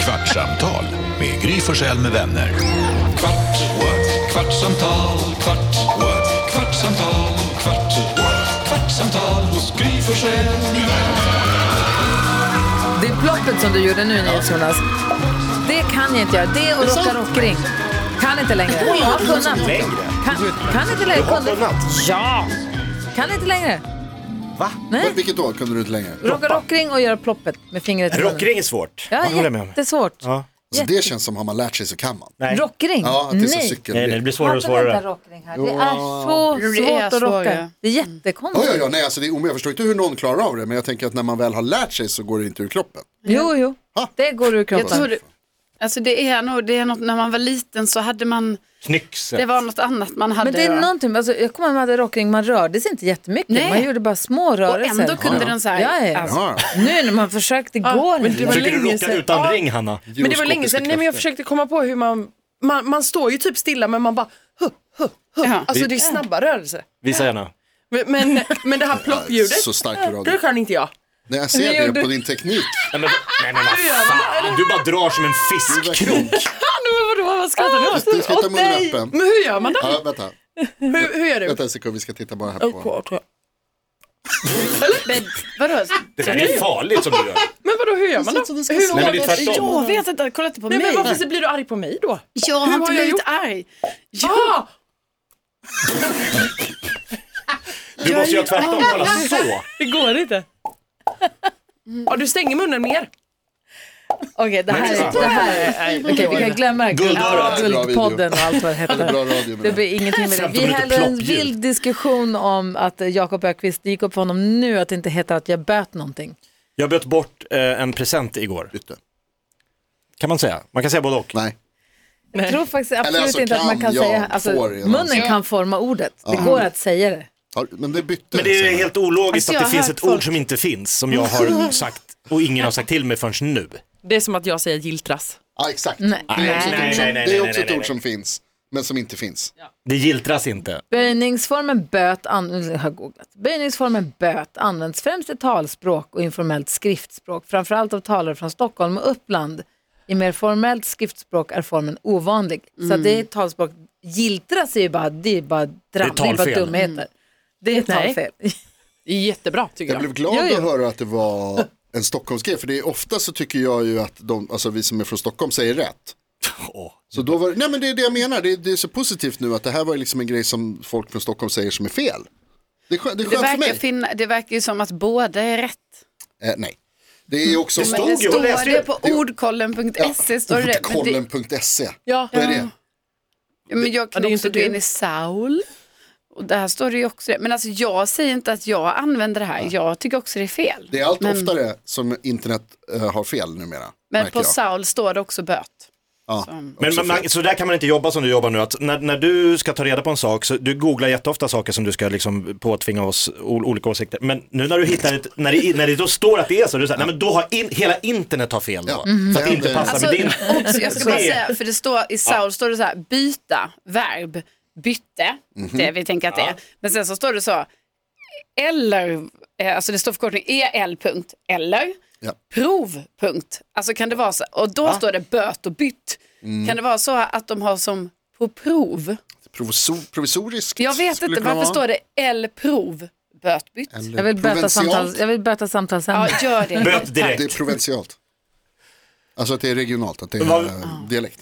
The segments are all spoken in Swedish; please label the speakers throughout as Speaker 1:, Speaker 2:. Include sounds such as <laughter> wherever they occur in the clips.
Speaker 1: Kvartsamtal med Gry Forssell med vänner. Kvart, what? kvartsamtal, kvart, what? kvartsamtal, kvart, what? kvartsamtal hos Gry Forssell med vänner.
Speaker 2: Det ploppet som du gjorde nu, Jonas, det kan jag inte göra. Det och rocka rockring. Kan inte längre. Jag har kunnat. Kan, kan inte längre. Kunde. Ja. Kan inte längre.
Speaker 3: Va?
Speaker 2: Nej.
Speaker 3: Vilket år kunde du inte längre? Alltså,
Speaker 2: Rocka rockring och göra ploppet med fingret. i munnen.
Speaker 4: Rockring är svårt.
Speaker 2: Ja,
Speaker 4: håller jag med om.
Speaker 2: jättesvårt.
Speaker 4: Ja.
Speaker 3: Så det känns som har man lärt sig så kan man.
Speaker 4: Nej.
Speaker 2: Rockring?
Speaker 3: Ja, att det är så
Speaker 2: Nej.
Speaker 3: cykel.
Speaker 4: Nej, nej, det blir svårare och
Speaker 2: Prata vänta,
Speaker 4: svårare.
Speaker 2: rockring här. Det är så
Speaker 5: är
Speaker 2: svårt att
Speaker 5: svårt,
Speaker 2: rocka.
Speaker 5: ja.
Speaker 2: Det är
Speaker 3: Ja, ja,
Speaker 2: jättekonstigt.
Speaker 3: ja, nej, alltså det är omöjligt. Jag förstår inte hur någon klarar av det, men jag tänker att när man väl har lärt sig så går det inte ur kroppen.
Speaker 2: Jo, jo.
Speaker 3: Ha.
Speaker 2: Det går ur kroppen.
Speaker 5: Jag tror, alltså det är nog, det är något, när man var liten så hade man,
Speaker 4: Snyxen.
Speaker 5: det var något annat man hade.
Speaker 2: Men det är
Speaker 5: va?
Speaker 2: någonting, alltså, jag kommer ihåg när man hade rockring, man rörde sig inte jättemycket.
Speaker 5: Nej.
Speaker 2: Man gjorde bara små rörelser.
Speaker 5: ändå kunde den så här-
Speaker 2: Ja, ja.
Speaker 5: alltså.
Speaker 3: Ja.
Speaker 2: Nu när man försökte gå
Speaker 6: men det var
Speaker 4: Försöker du
Speaker 6: länge
Speaker 4: rocka
Speaker 6: sedan.
Speaker 4: utan
Speaker 6: Ja.
Speaker 4: ring, Hanna?
Speaker 6: Men det var länge sedan, nej men jag försökte komma på hur man, man, man står ju typ stilla men man bara, huh, huh, huh.
Speaker 5: Ja.
Speaker 6: alltså det är snabba rörelser.
Speaker 4: Visa gärna.
Speaker 6: Men,
Speaker 3: <laughs>
Speaker 6: men, <laughs> men det här ploppljudet,
Speaker 3: Så stark i radio.
Speaker 6: det kan inte jag.
Speaker 3: När jag ser
Speaker 6: gjorde-
Speaker 3: det på din teknik.
Speaker 4: Nej men, nej, men vad fan, du bara drar som en fiskkrok.
Speaker 6: Vadå, vad skrattar du åt?
Speaker 3: Du ska ta
Speaker 6: Åt dig.
Speaker 3: munnen öppen.
Speaker 6: Men hur gör man det?
Speaker 3: Ja, vänta.
Speaker 6: Hur, hur gör du?
Speaker 3: Vänta en sekund, vi ska titta bara här på.
Speaker 5: Men, vadå?
Speaker 4: Det där är farligt som du gör.
Speaker 6: Men vadå, hur gör man då?
Speaker 3: Så att den ska
Speaker 6: Hur-
Speaker 4: Nej men det är tvärtom.
Speaker 5: Jag vet inte, kolla inte på
Speaker 6: Nej men
Speaker 5: mig.
Speaker 6: varför så blir du arg på mig då? Ah!
Speaker 5: Jag har
Speaker 6: Hur
Speaker 5: inte
Speaker 6: har jag
Speaker 5: blivit
Speaker 6: gjort?
Speaker 5: arg.
Speaker 6: Ja!
Speaker 4: Du måste göra tvärtom. Kolla så.
Speaker 6: Det går inte. Mm. Ja, du stänger munnen mer.
Speaker 2: Okej, det här är... Det här är okej, vi kan glömma det.
Speaker 4: Guldörat.
Speaker 2: Ja, Guldpodden och allt vad det
Speaker 3: Ja, det är bra
Speaker 2: hette. Det
Speaker 3: radio med det.
Speaker 2: blir ingenting med det.
Speaker 4: 15
Speaker 2: Vi
Speaker 4: minuter
Speaker 2: hade en
Speaker 4: ploppljud.
Speaker 2: vild diskussion om att Jakob Ökvist, det gick upp för honom nu att det inte heter att jag böt någonting.
Speaker 4: Jag böt bort eh, en present igår.
Speaker 3: Bytte.
Speaker 4: Kan man säga. Man kan säga både och.
Speaker 3: Nej,
Speaker 2: Jag tror faktiskt absolut
Speaker 3: alltså,
Speaker 2: inte att man kan
Speaker 3: kan jag
Speaker 2: säga, alltså,
Speaker 3: får redan.
Speaker 2: munnen kan forma ordet. Det går att säga det.
Speaker 3: Har- men det bytte.
Speaker 4: Men det är helt ologiskt
Speaker 5: Alltså,
Speaker 4: att
Speaker 5: jag
Speaker 4: det
Speaker 5: har
Speaker 4: finns
Speaker 5: hört
Speaker 4: ett
Speaker 5: folk-
Speaker 4: ord som inte finns som jag har sagt och ingen har sagt till mig förrän nu.
Speaker 6: Det är som att jag säger giltras.
Speaker 3: Ja, exakt.
Speaker 2: Nej.
Speaker 3: Det är också ett
Speaker 4: Nej,
Speaker 3: ord som-
Speaker 4: nej, nej,
Speaker 3: det är
Speaker 4: nej,
Speaker 3: också ett
Speaker 4: nej,
Speaker 3: ord som finns, men som inte finns.
Speaker 4: Det giltras inte.
Speaker 2: Böjningsformen böt, an- jag har googlat. Böjningsformen böt används främst i talspråk och informellt skriftspråk, framförallt av talare från Stockholm och Uppland. I mer formellt skriftspråk är formen ovanlig. Så att det är talspråk, giltras är ju bara, det är bara, dram, det är bara
Speaker 4: talfel.
Speaker 2: dumheter. Det är
Speaker 6: Nej.
Speaker 2: talfel.
Speaker 6: Det är jättebra tycker
Speaker 3: Jag
Speaker 6: jag.
Speaker 3: blev glad
Speaker 2: Jo, jo.
Speaker 3: att höra att det var en Stockholmsgrej, för det är ofta så tycker jag ju att de, alltså vi som är från Stockholm säger rätt.
Speaker 4: Åh.
Speaker 3: Så då var, nej men det är det jag menar, det är, det är så positivt nu att det här var liksom en grej som folk från Stockholm säger som är fel. Det är skönt, det är
Speaker 5: Det
Speaker 3: skönt för
Speaker 5: verkar,
Speaker 3: mig.
Speaker 5: finna, det verkar ju som att båda är rätt.
Speaker 3: eh, nej, det är också
Speaker 4: Det
Speaker 5: Men det
Speaker 4: Stod ju, jag läste
Speaker 5: står
Speaker 4: ju.
Speaker 5: det på ordkollen.se. står det, men, det,
Speaker 3: Kollen.se.
Speaker 6: Ja.
Speaker 3: E. Vad är det?
Speaker 5: men jag
Speaker 6: Ja, det är
Speaker 5: kan
Speaker 6: ju
Speaker 5: också
Speaker 6: inte
Speaker 5: gå
Speaker 6: du.
Speaker 5: in i Saul. Och där står det ju också det. Men alltså jag säger inte att jag använder det här. Jag tycker också det är fel.
Speaker 3: Det är allt
Speaker 5: men,
Speaker 3: oftare som internet eh, har fel numera.
Speaker 5: Men
Speaker 3: märker
Speaker 5: på
Speaker 3: jag.
Speaker 5: Saul står det också böt.
Speaker 3: Ja,
Speaker 4: Men
Speaker 3: också
Speaker 4: man, man,
Speaker 3: fel.
Speaker 4: så där kan man inte jobba som du jobbar nu, att när, när du ska ta reda på en sak, så du googlar jätteofta saker som du ska liksom påtvinga oss ol, olika åsikter, men nu när du hittar ett, när det, när det då står att det är så, du säger, nej men då har in, hela internet har fel då,
Speaker 3: Ja.
Speaker 4: för att det
Speaker 3: Mhm.
Speaker 4: inte passar
Speaker 5: Alltså,
Speaker 4: med din.
Speaker 5: <laughs> också, jag ska bara säga, för det står i Saul står det så här, byta, verb, bytte, det vi tänker att det är. Men sen så står det så, eller, eh, alltså det står förkortning el. punkt, eller,
Speaker 3: Ja.
Speaker 5: prov. punkt. Alltså kan det vara så, och då står det böt och bytt. Kan det vara så att de har som på prov?
Speaker 3: Provisor, provisoriskt.
Speaker 5: Jag vet
Speaker 3: skulle
Speaker 5: inte,
Speaker 3: kunna
Speaker 5: varför
Speaker 3: vara.
Speaker 5: står det el. prov, böt, bytt?
Speaker 3: Eller
Speaker 2: Jag vill böta,
Speaker 3: provincialt.
Speaker 2: samtals, jag vill böta
Speaker 5: Ja,
Speaker 2: samtalsämnet.
Speaker 5: gör
Speaker 2: <laughs>
Speaker 5: det.
Speaker 4: Böt
Speaker 3: Det är
Speaker 4: direkt.
Speaker 3: provincialt. Alltså att det är regionalt, att det är
Speaker 4: Vad-
Speaker 3: eh, dialekt.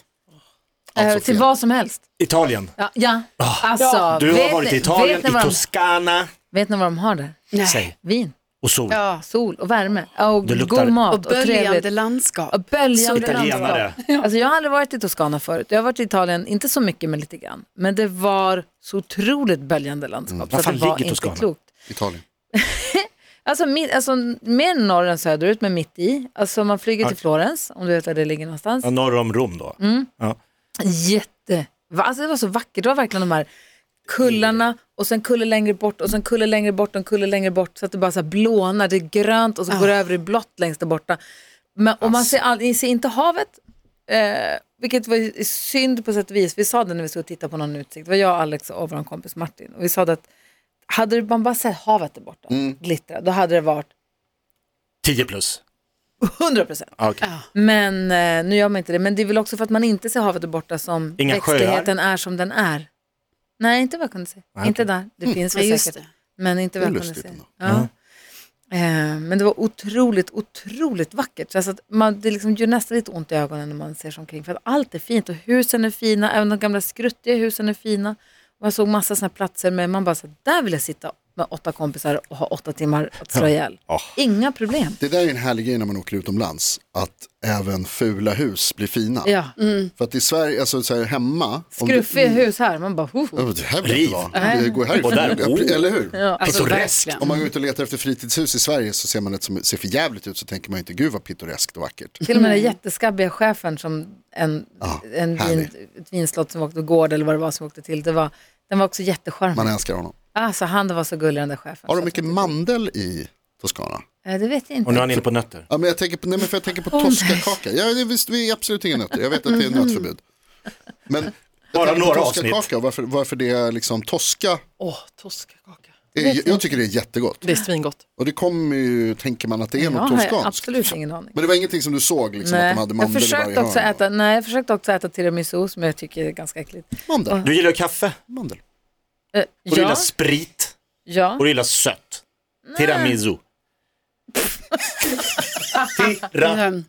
Speaker 2: Eh, till
Speaker 3: fel.
Speaker 2: vad som helst.
Speaker 4: Italien.
Speaker 2: Ja, ja. alltså.
Speaker 4: Ah, Du har
Speaker 2: vet
Speaker 4: varit i
Speaker 2: ni-
Speaker 4: Italien,
Speaker 2: vet ni
Speaker 4: i
Speaker 2: vad de-
Speaker 4: Toscana,
Speaker 2: Vet ni vad de har där?
Speaker 4: säg,
Speaker 2: Vin,
Speaker 4: och sol.
Speaker 5: Ja.
Speaker 2: sol och värme och
Speaker 4: Det luktar-
Speaker 2: god mat
Speaker 5: Och
Speaker 2: och, trevligt.
Speaker 5: böljande landskap.
Speaker 2: Och böljande
Speaker 4: Italienare.
Speaker 2: landskap. Alltså jag har aldrig varit i Toscana förut. Jag har varit i Italien, inte så mycket men lite grann. Men det var så otroligt böljande landskap.
Speaker 4: Var
Speaker 2: Så
Speaker 4: Mm. fan
Speaker 2: att det var
Speaker 4: ligger
Speaker 2: inte
Speaker 4: Toscana?
Speaker 2: klokt.
Speaker 3: Italien.
Speaker 2: Alltså, mitt, alltså mer norr än söderut men mitt i. Alltså man flyger till
Speaker 4: Okej.
Speaker 2: Florens om du vet var det ligger någonstans.
Speaker 4: Ja, norr om Rom då.
Speaker 2: Mm.
Speaker 4: Ja.
Speaker 2: Jätte... va- Alltså det var så vackert. Det var verkligen de här kullarna och sen kulle längre bort och sen kulle längre bort och en kulle längre bort så att det bara så här blånar. Det är grönt och så går det över i blått längst där borta. Men, och man ser, all, ni ser inte havet, eh, vilket var ju synd på sätt och vis. Vi sa det när vi stod och tittade på någon utsikt. Det var jag, Alex och vår kompis Martin. Och vi sa det att hade man bara sett havet där borta glittra, då hade det varit
Speaker 4: 10 plus.
Speaker 2: 100 procent.
Speaker 4: Ah, okej.
Speaker 2: Men eh, nu gör man inte det. Men det är väl också för att man inte ser havet där borta som
Speaker 4: Inga
Speaker 2: växtligheten är som den är. Nej, inte vad jag kunde se. Inte där. Det finns
Speaker 5: Mm. Ja,
Speaker 2: väl
Speaker 5: just
Speaker 2: säkert. Men inte vad
Speaker 3: Det är
Speaker 2: jag kunde
Speaker 3: lustigt
Speaker 2: se.
Speaker 3: ändå.
Speaker 2: Ja. Eh, men det var otroligt, otroligt vackert. Så alltså att man, det liksom gör nästan lite ont i ögonen när man ser sig omkring. För att allt är fint och husen är fina, även de gamla skruttiga husen är fina. Man såg massa sådana platser med, man bara så här, där vill jag sitta med åtta kompisar och ha åtta timmar att slå ihjäl. Inga problem.
Speaker 3: Det där är en härlig grej när man åker utomlands, att även fula hus blir fina.
Speaker 2: Ja.
Speaker 3: För att i Sverige, alltså så här hemma, om du,
Speaker 2: Skruffiga hus här, man bara, ho, ho.
Speaker 3: Ja, det här vill jag inte vara.
Speaker 2: Riv.
Speaker 3: Det går
Speaker 4: Och där,
Speaker 3: härifrån,
Speaker 4: oh.
Speaker 3: eller hur?
Speaker 5: Alltså,
Speaker 4: Pittoreskt.
Speaker 5: verkligen.
Speaker 3: Om man går ut och letar efter fritidshus i Sverige så ser man ett som ser för jävligt ut så tänker man inte gud vad pittoreskt och vackert.
Speaker 2: Till och med den
Speaker 5: Mm.
Speaker 2: jätteskabbiga chefen som en,
Speaker 3: Ja,
Speaker 2: en vin,
Speaker 3: härlig.
Speaker 2: ett vinslott som åkte gård eller vad det var som åkte till, det var, den var också jättecharmig.
Speaker 3: Man älskar honom.
Speaker 2: Alltså han var så gullig den där chefen.
Speaker 3: Har de
Speaker 2: Så-
Speaker 3: mycket mandel i Toscana?
Speaker 2: Eh, Det vet jag
Speaker 4: Och nu är
Speaker 2: inte.
Speaker 4: han inne på nötter.
Speaker 3: Ja, men jag tänker på, nej, men för jag tänker på
Speaker 2: nej.
Speaker 3: toskakaka. Ja, det, visst, vi är absolut inga nötter. Jag vet att det är nötförbud. Men jag
Speaker 4: Bara
Speaker 3: tänker på
Speaker 4: några
Speaker 3: toskakaka, Varför, varför det är liksom toska.
Speaker 6: Åh, toskakaka.
Speaker 3: är- Jag, jag tycker det är jättegott.
Speaker 6: Det är svingott.
Speaker 3: Och det kommer ju, tänker man att det är
Speaker 2: Jag
Speaker 3: något
Speaker 2: har
Speaker 3: toskanskt.
Speaker 2: absolut ingen aning.
Speaker 3: Men det var ingenting som du såg, liksom, att de hade
Speaker 2: jag,
Speaker 3: mandel i varje
Speaker 2: försökte också
Speaker 3: hörn?
Speaker 2: äta, nej, jag försökte också äta tiramisu som jag tycker är ganska äckligt.
Speaker 3: Mandel.
Speaker 4: Du gillar kaffe,
Speaker 3: mandel.
Speaker 2: Eh,
Speaker 4: och du gillar
Speaker 2: ja,
Speaker 4: sprit,
Speaker 2: ja.
Speaker 4: och du gillar sött. Tiramisu. Tiramisu.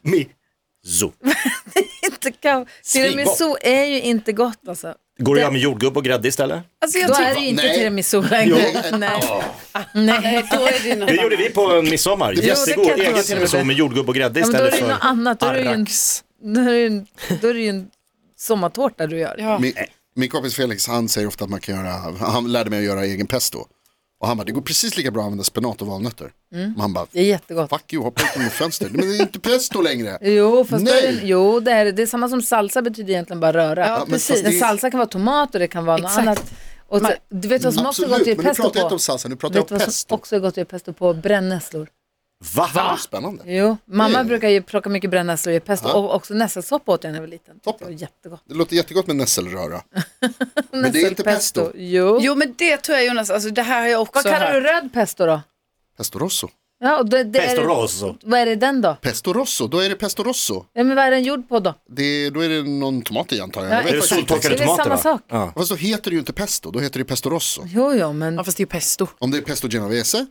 Speaker 2: Inte kan, tiramisu är ju inte gott alltså.
Speaker 4: Går du att göra med jordgubb och grädde istället?
Speaker 5: Alltså, jag
Speaker 2: Då
Speaker 5: tycker-
Speaker 2: är det ju inte
Speaker 3: Nej.
Speaker 2: tiramisu längre. <laughs> Nej. Ah, Nej.
Speaker 5: Då är det
Speaker 4: Det gjorde vi på midsommar.
Speaker 2: det kan
Speaker 4: Jättegod
Speaker 2: jag tro
Speaker 4: egen
Speaker 2: att det
Speaker 4: tiramisu
Speaker 2: gjorde.
Speaker 4: med jordgubb och grädde
Speaker 2: Ja, men då är
Speaker 4: istället
Speaker 2: det ju
Speaker 4: för
Speaker 2: något annat. Då är det ju en,
Speaker 4: arrax.
Speaker 2: då är det ju en, då är det ju en sommartårta du gör.
Speaker 5: Ja.
Speaker 3: Min, min kompis Felix, han säger ofta att man kan göra, han lärde mig att göra egen pesto. Och han bara, det går precis lika bra att använda spenat och valnötter.
Speaker 2: Mm.
Speaker 3: Men han bara,
Speaker 2: Det är jättegott.
Speaker 3: fuck you, hoppa ut genom fönstret. Men det är inte
Speaker 2: <laughs>
Speaker 3: pesto längre.
Speaker 2: Jo, fast då är det,
Speaker 3: Nej.
Speaker 2: jo det, är, det. det är samma som salsa betyder egentligen bara röra.
Speaker 5: Ja,
Speaker 3: men precis. fast det
Speaker 2: En
Speaker 3: är-
Speaker 2: salsa kan vara tomat och det kan vara något
Speaker 5: Exakt.
Speaker 2: annat. Och så, du vet vad som också är gott att
Speaker 3: Mm. Absolut,
Speaker 2: göra
Speaker 3: men nu
Speaker 2: pesto
Speaker 3: pratar jag inte
Speaker 2: på?
Speaker 3: om salsa, nu pratar
Speaker 2: Vet
Speaker 3: jag
Speaker 2: du
Speaker 3: om
Speaker 2: vad som
Speaker 3: pesto.
Speaker 2: också Ah! är gott att göra pesto på? Brännässlor.
Speaker 4: Va?
Speaker 3: Spännande.
Speaker 2: Jo, mamma
Speaker 3: Mm.
Speaker 2: brukar ju plocka mycket brännässlor och göra pesto.
Speaker 3: Ja.
Speaker 2: Och också nässelsoppa åt jag när jag var liten.
Speaker 3: Toppen.
Speaker 2: Det var jättegott.
Speaker 3: Det låter jättegott
Speaker 2: <laughs>
Speaker 3: med nässelröra. men det är inte pesto.
Speaker 2: Jo.
Speaker 5: Jo men det tror jag Jonas, alltså, det här har jag också
Speaker 2: Vad kallar du
Speaker 5: hört.
Speaker 2: röd pesto då?
Speaker 3: Pesto rosso.
Speaker 2: Ja, och det, det
Speaker 4: Pesto
Speaker 2: är,
Speaker 4: rosso.
Speaker 2: Vad är det den då?
Speaker 3: Pesto rosso, då är det pesto rosso.
Speaker 2: Ja, men vad är den gjord på då?
Speaker 3: Det, då är det någon tomat i antar jag. jag.
Speaker 2: Ja,
Speaker 3: vet
Speaker 4: Är det
Speaker 3: faktiskt inte.
Speaker 4: soltorkade
Speaker 2: Det är
Speaker 4: tomater?
Speaker 2: samma
Speaker 4: va?
Speaker 2: sak.
Speaker 4: Ja.
Speaker 3: Fast då heter det ju inte pesto, då heter det pesto rosso.
Speaker 2: Jo, jo, men...
Speaker 6: Ja, fast det är ju pesto.
Speaker 3: Om det är pesto genovese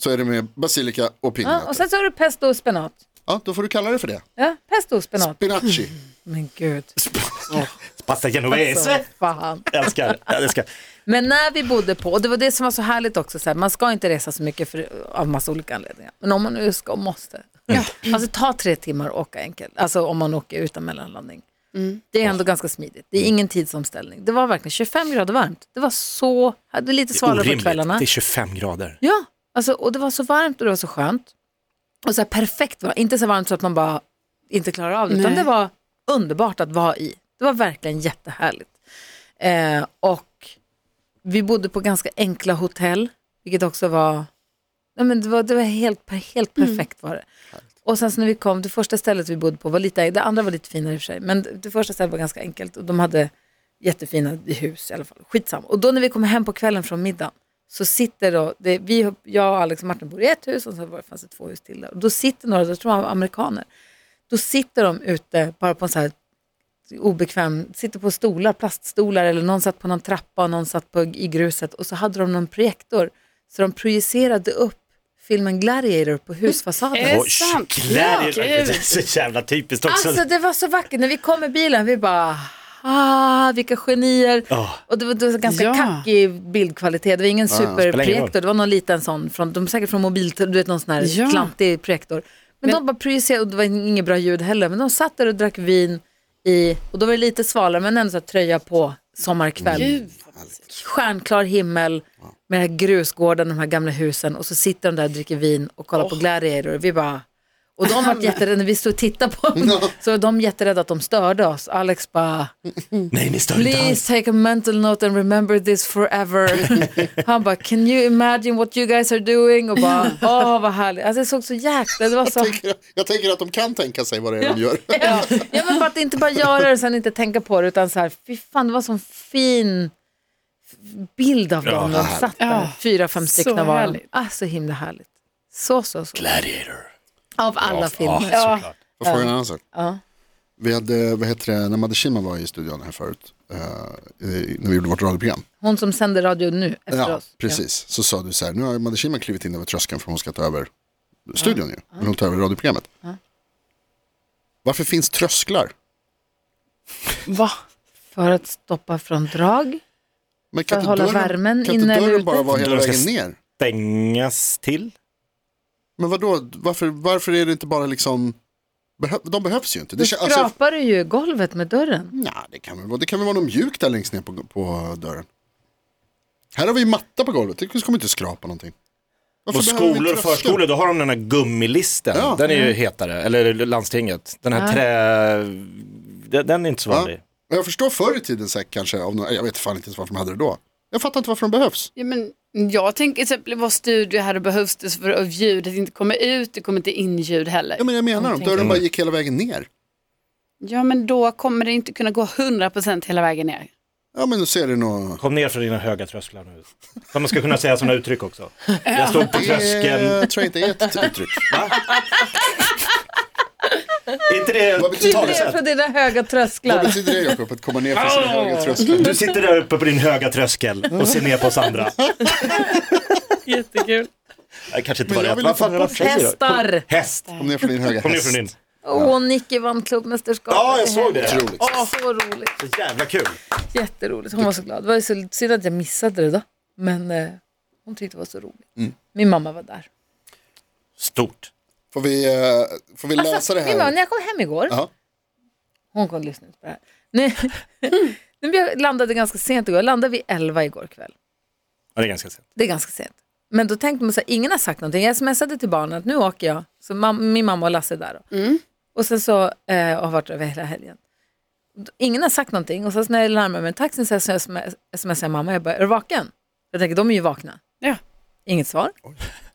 Speaker 3: så är det med basilika och
Speaker 2: Ja, och
Speaker 3: pinjenötter.
Speaker 2: sen så har du pesto och spenat.
Speaker 3: Ja, då får du kalla det för det.
Speaker 2: Ja, pesto och spenat. <laughs>
Speaker 3: Spinaci.
Speaker 2: Men gud.
Speaker 4: Pasta genovese.
Speaker 2: Så, fan.
Speaker 4: Älskar, jag älskar.
Speaker 2: Men när vi bodde på, och det var det som var så härligt också, så här, man ska inte resa så mycket för, av massa olika anledningar. Men om man nu ska och måste. Alltså ta tre timmar och åka enkelt, alltså om man åker utan mellanlandning. Det är ändå ganska smidigt, det är ingen tidsomställning. Det var verkligen 25 grader varmt, det var så, det är lite
Speaker 4: Det är
Speaker 2: svalare på
Speaker 4: orimligt.
Speaker 2: kvällarna.
Speaker 4: Det är 25 grader.
Speaker 2: Ja, alltså, och det var så varmt och det var så skönt. Och så här perfekt, var. inte så varmt så att man bara inte klarar av det, utan det var underbart att vara i. Det var verkligen jättehärligt. Eh, och vi bodde på ganska enkla hotell, vilket också var, ja, men det var, det var helt, helt perfekt var det. Och sen så när vi kom, det första stället vi bodde på var lite, det andra var lite finare i och för sig, men det första stället var ganska enkelt och de hade jättefina hus i alla fall. Skitsam. Och då när vi kommer hem på kvällen från middagen så sitter då, det, vi, jag och Alex och Martin bor i ett hus och så var det, fanns det två hus till där. Och då sitter några, jag tror de var amerikaner, då sitter de ute bara på en så här obekväm, sitter på stolar, plaststolar eller någon satt på någon trappa och någon satt på, i gruset och så hade de någon projektor så de projicerade upp filmen Gladiator på husfasaden.
Speaker 5: Är det
Speaker 4: Oj,
Speaker 5: sant?
Speaker 4: klär-
Speaker 5: Ja,
Speaker 4: det
Speaker 5: gud.
Speaker 4: är så jävla typiskt också.
Speaker 2: Alltså det var så vackert, när vi kom med bilen, vi bara, ah, vilka genier.
Speaker 4: Ja.
Speaker 2: Och det var, det var ganska
Speaker 5: Ja.
Speaker 2: kackig bildkvalitet, det var ingen
Speaker 4: spelar ingen
Speaker 2: superprojektor, det var någon liten sån, från, de är säkert från mobiltel, du vet någon sån här
Speaker 5: Ja.
Speaker 2: klantig projektor. Men, de bara projicerade, och det var inget bra ljud heller, men de satt där och drack vin i, och då var det lite svalare, men ändå så här, tröja på, sommarkväll
Speaker 5: Gud.
Speaker 2: stjärnklar himmel med den här grusgården, de här gamla husen och så sitter de där och dricker vin och kollar på Gladiator. Vi bara, och de
Speaker 5: <laughs>
Speaker 2: var jätterädda, när vi stod och tittade på dem, så var de jätterädda att de störde oss. Alex bara,
Speaker 4: Nej, ni stör inte alls.
Speaker 2: please take a mental note and remember this
Speaker 3: <laughs>
Speaker 2: forever. Han bara, can you imagine what you guys are doing? Och bara, åh vad härligt. Alltså det såg så jäkla, det var så...
Speaker 3: Jag tänker att de kan tänka sig vad det är de gör.
Speaker 2: Ja, jag vill bara att inte bara göra det och sen inte tänka på det utan så här, fy fan det var sån fin bild av dem när de satt där.
Speaker 5: Ja.
Speaker 2: Fyra, fem stycken
Speaker 5: Så
Speaker 2: var de.
Speaker 5: härligt.
Speaker 2: Ah, så himla härligt. Så, så, så.
Speaker 4: Gladiator.
Speaker 2: Av alla filmer.
Speaker 5: Ja.
Speaker 3: Får jag fråga en annan sak? Vi hade, vad heter det, när Madde Kihlman var i studion här förut, eh, i- när vi gjorde vårt radioprogram.
Speaker 2: Hon som sänder radio nu efter
Speaker 3: Ja,
Speaker 2: oss.
Speaker 3: precis. Så sa du så här, nu har Madde Kihlman klivit in över tröskeln för hon ska ta över studion ju. Men hon tar över radioprogrammet. Varför finns trösklar?
Speaker 6: Va?
Speaker 2: För att stoppa från drag.
Speaker 3: Men
Speaker 2: För att hålla värmen
Speaker 3: kan
Speaker 2: inne
Speaker 3: inte
Speaker 2: eller
Speaker 3: dörren
Speaker 2: ute?
Speaker 3: bara vara hela
Speaker 4: Dörren ska
Speaker 3: vägen
Speaker 4: s-
Speaker 3: ner?
Speaker 4: Stängas till?
Speaker 3: Men vadå, varför, varför är det inte bara liksom, behö, de behövs ju inte.
Speaker 2: Då
Speaker 3: Det, kän- alltså,
Speaker 2: skrapar du ju golvet med dörren.
Speaker 3: nja, det, kan väl, vara- det kan väl vara något mjukt där längst ner på, på dörren. Här har vi matta på golvet, det kommer inte skrapa någonting. Varför
Speaker 4: På
Speaker 3: behöver vi
Speaker 4: skolor och
Speaker 3: trösklar?
Speaker 4: förskolor, då har de den här gummilisten.
Speaker 3: Ja.
Speaker 4: Den är ju hetare, eller landstinget. Den här trä... den- Den är inte så vanlig.
Speaker 3: Men Jag förstår förr i tiden säkert kanske, av någon, jag vet fan inte ens varför de hade det då. Jag fattar inte varför de behövs.
Speaker 5: Ja, men jag tänker till exempel i vår studio här då behövs det för att ljudet inte kommer ut, det kommer inte in ljud heller.
Speaker 3: Ja, men jag menar, om dörren bara gick hela vägen ner.
Speaker 5: Ja men då kommer det inte kunna gå 100% hela vägen ner.
Speaker 3: Ja men då ser det nog...
Speaker 4: Kom ner från dina höga trösklar nu. Så man ska kunna säga sådana uttryck också. Jag stod på tröskeln.
Speaker 3: Jag tror jag inte är ett uttryck.
Speaker 4: Är inte det
Speaker 3: Vad
Speaker 4: ett
Speaker 3: betyder det?
Speaker 2: Ner
Speaker 4: talesätt?
Speaker 2: från dina höga
Speaker 3: Vad
Speaker 2: trösklar.
Speaker 3: betyder det Jakob, att komma ner från sin höga tröskel?
Speaker 4: Du sitter där uppe på din höga tröskel och ser ner på oss andra.
Speaker 6: Jättekul.
Speaker 4: Det kanske inte
Speaker 3: Men
Speaker 4: var
Speaker 3: jag
Speaker 4: rätt.
Speaker 3: vill
Speaker 4: Vad fan
Speaker 3: inte
Speaker 4: är det för tjejer då?
Speaker 2: Hästar.
Speaker 4: Häst.
Speaker 3: Kom ner från din höga
Speaker 4: Kom ner från
Speaker 3: häst.
Speaker 4: din.
Speaker 2: Åh, Nicky vann klubbmästerskapet.
Speaker 4: Ja, jag såg det.
Speaker 3: Otroligt.
Speaker 2: Så roligt.
Speaker 4: Så jävla kul.
Speaker 2: Jätteroligt. Hon var så glad. Det var ju så synd att jag missade det då. Men eh, hon tyckte det var så roligt.
Speaker 4: Mm.
Speaker 2: Min mamma var där.
Speaker 4: Stort.
Speaker 3: Får vi, eh, får vi
Speaker 2: Alltså,
Speaker 3: läsa det
Speaker 2: Min mamma,
Speaker 3: här?
Speaker 2: när jag kom hem igår.
Speaker 3: Ja.
Speaker 2: Hon kommer lyssna på det här. Nej.
Speaker 4: Mm.
Speaker 2: <laughs> Nej, men jag landade ganska sent igår. Jag landade vid 11 igår kväll.
Speaker 4: Ja, det är ganska sent.
Speaker 2: Det är ganska sent. Men då tänkte man så här, ingen har sagt någonting. Jag smsade till barnen att nu åker jag. Så mam- min mamma och Lasse är där. Då. Och sen så eh, har varit över hela helgen. Ingen har sagt någonting. Och sen så när jag larmar mig i taxin så smsar jag sm- smsar mamma. Jag bara, är du vaken? Jag tänker, de är ju vakna.
Speaker 5: Ja.
Speaker 2: Inget svar.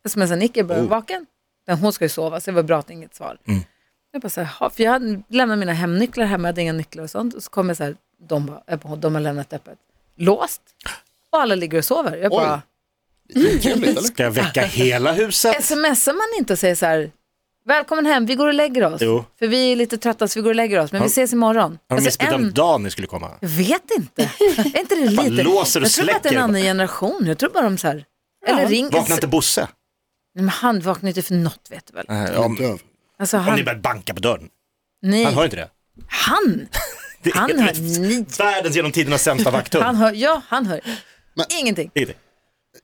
Speaker 2: Jag smsar Nicky, jag bara, är du vaken? Men hon ska ju sova så det var bra att det är inget svar. Jag bara så här, "Ha", för jag hade lämnat mina hemnycklar hemma, jag hade inga nycklar och sånt. Och så kommer jag så här, de, bara, jag bara, de har lämnat öppet. Låst. Och alla ligger och sover. Jag bara,
Speaker 3: Oj. Det är trevligt eller?
Speaker 4: Ska jag
Speaker 2: <laughs>
Speaker 4: väcka hela huset?
Speaker 2: smsar man inte och säger så här, välkommen hem, vi går och lägger oss.
Speaker 4: Jo.
Speaker 2: För vi är lite trötta så vi går och lägger oss, men vi ses imorgon.
Speaker 4: Har de
Speaker 2: Alltså,
Speaker 4: missbedömt
Speaker 2: en-
Speaker 4: dagen ni skulle komma?
Speaker 2: Jag vet inte. Är inte det lite?
Speaker 4: låser och
Speaker 2: jag tror bara att det är
Speaker 4: släcker.
Speaker 2: en annan generation. Jag tror bara de så här, eller ring.
Speaker 4: Vaknar inte Bosse?
Speaker 2: Nej, men han vaknar inte för något vet du väl.
Speaker 4: Nej,
Speaker 3: Jag är
Speaker 4: om,
Speaker 3: döv.
Speaker 2: Alltså
Speaker 4: om ni
Speaker 2: han,
Speaker 4: börjar banka på dörren.
Speaker 2: nej,
Speaker 4: Han hör inte det.
Speaker 2: han,
Speaker 4: det
Speaker 2: han
Speaker 4: är
Speaker 2: hör, nej,
Speaker 4: världens genom tidernas sämsta
Speaker 2: han
Speaker 4: vakthund.
Speaker 2: hör, ja han hör.
Speaker 3: Men-
Speaker 2: Ingenting.
Speaker 4: Det är det.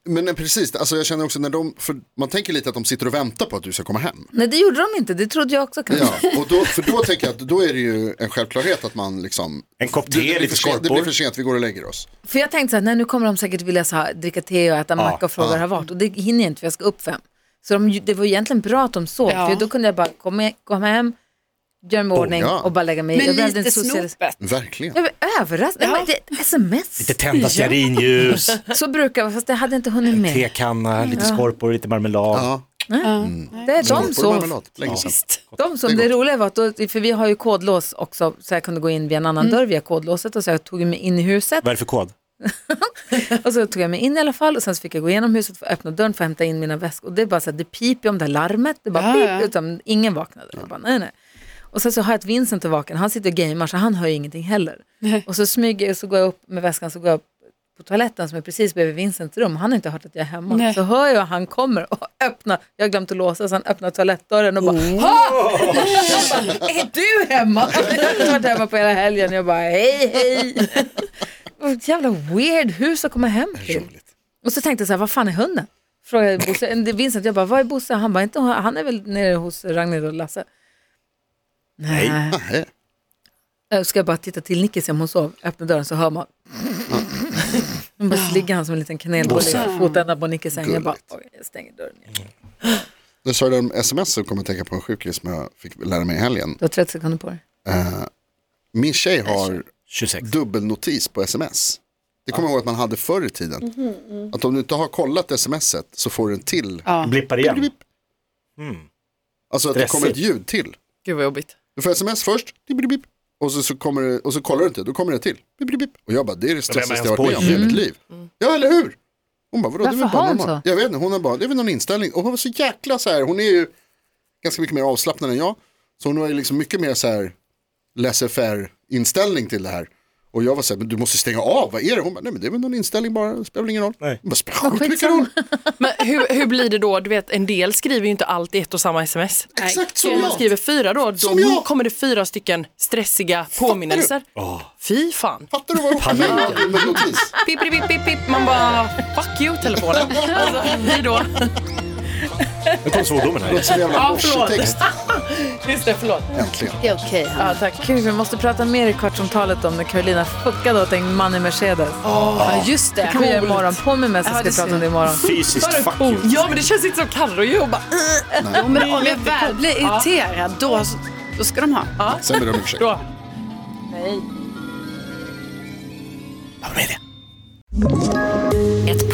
Speaker 3: Men eh, precis, alltså jag känner också när de, för man tänker lite att de sitter och väntar på att du ska komma hem.
Speaker 2: Nej det gjorde de inte, det trodde jag också kanske.
Speaker 3: Ja, och då, för då tänker jag att då är det ju en självklarhet att man liksom...
Speaker 4: En kopp
Speaker 3: Det, det,
Speaker 4: te,
Speaker 3: blir,
Speaker 4: lite
Speaker 3: för sent, det blir
Speaker 4: skorpor.
Speaker 3: för sent, vi går och lägger oss.
Speaker 2: För jag tänkte så här, nej nu kommer de säkert vilja så här, dricka te och äta macka och fråga hur det har varit. Och det hinner jag inte för jag ska upp fem. Så de, det var egentligen bra att de sov.
Speaker 5: Ja.
Speaker 2: För då kunde jag bara komma, komma hem, göra mig i ordning
Speaker 3: ja.
Speaker 2: och bara lägga mig i. Jag
Speaker 5: Men
Speaker 2: behövde
Speaker 5: lite
Speaker 2: inte socialis-
Speaker 5: snopet.
Speaker 3: Verkligen.
Speaker 2: Jag blev överraskad. Nej, men det- Sms.
Speaker 4: Lite tända stearinljus,
Speaker 2: Så brukar jag, fast det hade jag inte hunnit <laughs> med.
Speaker 4: tekanna, lite skorpor, lite marmelad.
Speaker 3: Ja,
Speaker 2: Det är de
Speaker 3: skorpor och
Speaker 2: sov.
Speaker 3: marmelad, länge sedan.
Speaker 2: De som, det roliga var att, då, för vi har ju kodlås också, så jag kunde gå in via en annan
Speaker 5: Mm.
Speaker 2: dörr via kodlåset och så jag tog mig in i huset.
Speaker 4: Vad är det för kod?
Speaker 2: <laughs> Och så tog jag mig in i alla fall och sen så fick jag gå igenom huset för att öppna dörren för att hämta in mina väskor. Och det är bara så att det piper om det här larmet. Det är bara
Speaker 5: Ja,
Speaker 2: pip,
Speaker 5: ja.
Speaker 2: utan ingen vaknade. Jag bara, nej, nej. Och sen så har jag att Vincent är vaken, han sitter och gamer så han hör ju ingenting heller. Och så smyger jag, så går jag upp med väskan, så går jag upp på toaletten som är precis bredvid Vincents rum. Han har inte hört att jag är hemma.
Speaker 5: Nej.
Speaker 2: Så hör jag att han kommer och öppnar, jag har glömt att låsa så han öppnar toalettdörren och bara,
Speaker 5: Oh.
Speaker 2: ha! Jag bara, är du hemma? <laughs> Jag har inte varit hemma på hela helgen. Jag bara, hej hej. Och ett jävla weird hus att komma hem till. Och så tänkte jag så här, vad fan är hunden? Frågade Bosse, en- det är Vincent, jag bara, var är Bosse? Han bara, inte, han är väl nere hos Ragnhild och Lasse. Nej.
Speaker 3: Nej.
Speaker 2: Jag ska bara titta till Nicky se om hon sov. Öppna dörren så hör man. Hon bara så ligger han som en liten kanelbulle i fotändan på Nickys säng. Jag bara, oj, jag stänger dörren. igen.
Speaker 3: När du sa det om sms så kom jag att tänka på en sjukgrej som jag fick lära mig i helgen. Eh,
Speaker 2: Du har 30 sekunder på dig.
Speaker 3: Min tjej har
Speaker 4: 26.
Speaker 3: dubbelnotis på sms. Det kommer jag ihåg att man hade förr i tiden. Att om du inte har kollat smset så får du en till.
Speaker 4: Blippar igen.
Speaker 3: Alltså att det kommer ett
Speaker 4: Mm. Stressigt.
Speaker 3: ljud till.
Speaker 6: Gud vad jobbigt.
Speaker 3: Du får sms först, bip, bip, bip. Och, så, så kommer det, och så kollar du inte, då kommer det till. Bip, bip, bip. Och jag bara, det är det stressigaste jag har varit med om i hela mitt liv. Ja, eller hur? Hon bara, vadå, det är
Speaker 2: Mm. Varför
Speaker 3: väl bara
Speaker 2: har hon
Speaker 3: normalt.
Speaker 2: så?
Speaker 3: Jag vet inte, hon har bara, det är väl någon inställning. Och hon var så jäkla så här, hon är ju ganska mycket mer avslappnad än jag. Så hon har ju liksom mycket mer så här laissez-faire inställning till det här. Och jag var så här, men du måste stänga av, vad är det? Hon bara, nej men det är väl någon inställning bara, det spelar väl ingen roll.
Speaker 4: Nej.
Speaker 3: Hon bara, spelar sjukt roll.
Speaker 2: <laughs>
Speaker 6: Men hur, hur blir det då? Du vet, en del skriver ju inte allt i ett och samma sms.
Speaker 3: Exakt som
Speaker 6: Om man
Speaker 3: jag.
Speaker 6: skriver fyra då,
Speaker 3: Som
Speaker 6: då
Speaker 3: jag.
Speaker 6: kommer det fyra stycken stressiga påminnelser. Fy fan.
Speaker 3: Fattar du vad jag åker med notis?
Speaker 6: Pip, pip, pip, pip, pip. Man bara, fuck you <laughs> telefonen. Alltså, hej då.
Speaker 4: Nu kom svordomen här.
Speaker 3: Låter som en jävla Porsche-text.
Speaker 6: Just det, förlåt.
Speaker 3: Äntligen.
Speaker 5: Det är okej.
Speaker 6: Ja, tack.
Speaker 2: Gud, vi måste prata mer i Kvartsamtalet om när Carolina fuckade åt en man i Mercedes.
Speaker 5: Ja, just det.
Speaker 2: Det kan vi göra imorgon. På med mig så
Speaker 5: Ja,
Speaker 2: ska
Speaker 5: det
Speaker 2: vi prata om
Speaker 5: ser-
Speaker 2: det imorgon.
Speaker 4: Fysiskt fuck you.
Speaker 6: Ja, men det känns inte som Carro ju. Hon bara,
Speaker 5: Ja, men om jag väl blir irriterad, då, då ska de ha.
Speaker 3: Sen ber de om ursäkt.
Speaker 6: då.
Speaker 7: Ett